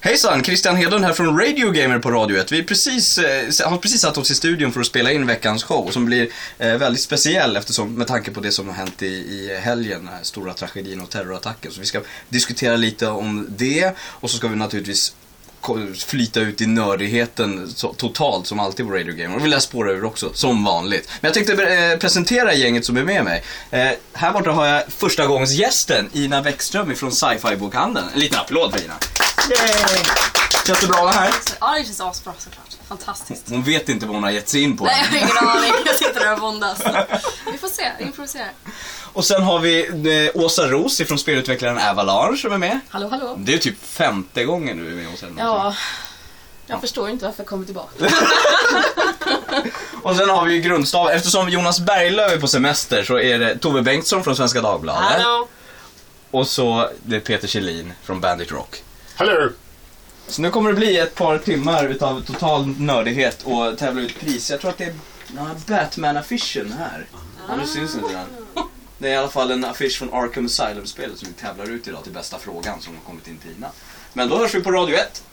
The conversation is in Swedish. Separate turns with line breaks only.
Hejsan, Christian Hedlund här från Radio Gamer på Radio 1. Vi är precis, eh, har precis satt oss i studion för att spela in veckans show som blir eh, väldigt speciell eftersom, med tanke på det som har hänt i, i helgen, den här stora tragedin och terrorattacken. Så vi ska diskutera lite om det och så ska vi naturligtvis ko- flyta ut i nördigheten så, totalt som alltid på Radio Gamer. Och vi lär spåra ur också, som vanligt. Men jag tänkte eh, presentera gänget som är med mig. Eh, här borta har jag första gångens gästen Ina Bäckström från Sci-Fi-bokhandeln. En liten applåd för Ina. Känns det bra att vara här?
Ja, det känns asbra såklart. Fantastiskt.
Hon vet inte vad hon har gett sig in på.
Nej, jag har ingen aning. Jag sitter där och våndas. Vi får se, improvisera.
Och sen har vi eh, Åsa Ros ifrån spelutvecklaren Avalanche som är med.
Hallå, hallå.
Det är typ femte gången du är med hos henne.
Ja, jag förstår inte varför jag kommer tillbaka.
Och sen har vi ju grundstav. Eftersom Jonas Berglöf är på semester så är det Tove Bengtsson från Svenska Dagbladet. Och så det är Peter Kjellin från Bandit Rock.
Hallå!
Så nu kommer det bli ett par timmar utav total nördighet och tävla ut pris. Jag tror att det är den här Batman-affischen här. Ja, nu syns inte den. Det är i alla fall en affisch från Arkham Asylum-spelet som vi tävlar ut idag till bästa frågan som har kommit in till Ina. Men då hörs vi på Radio 1.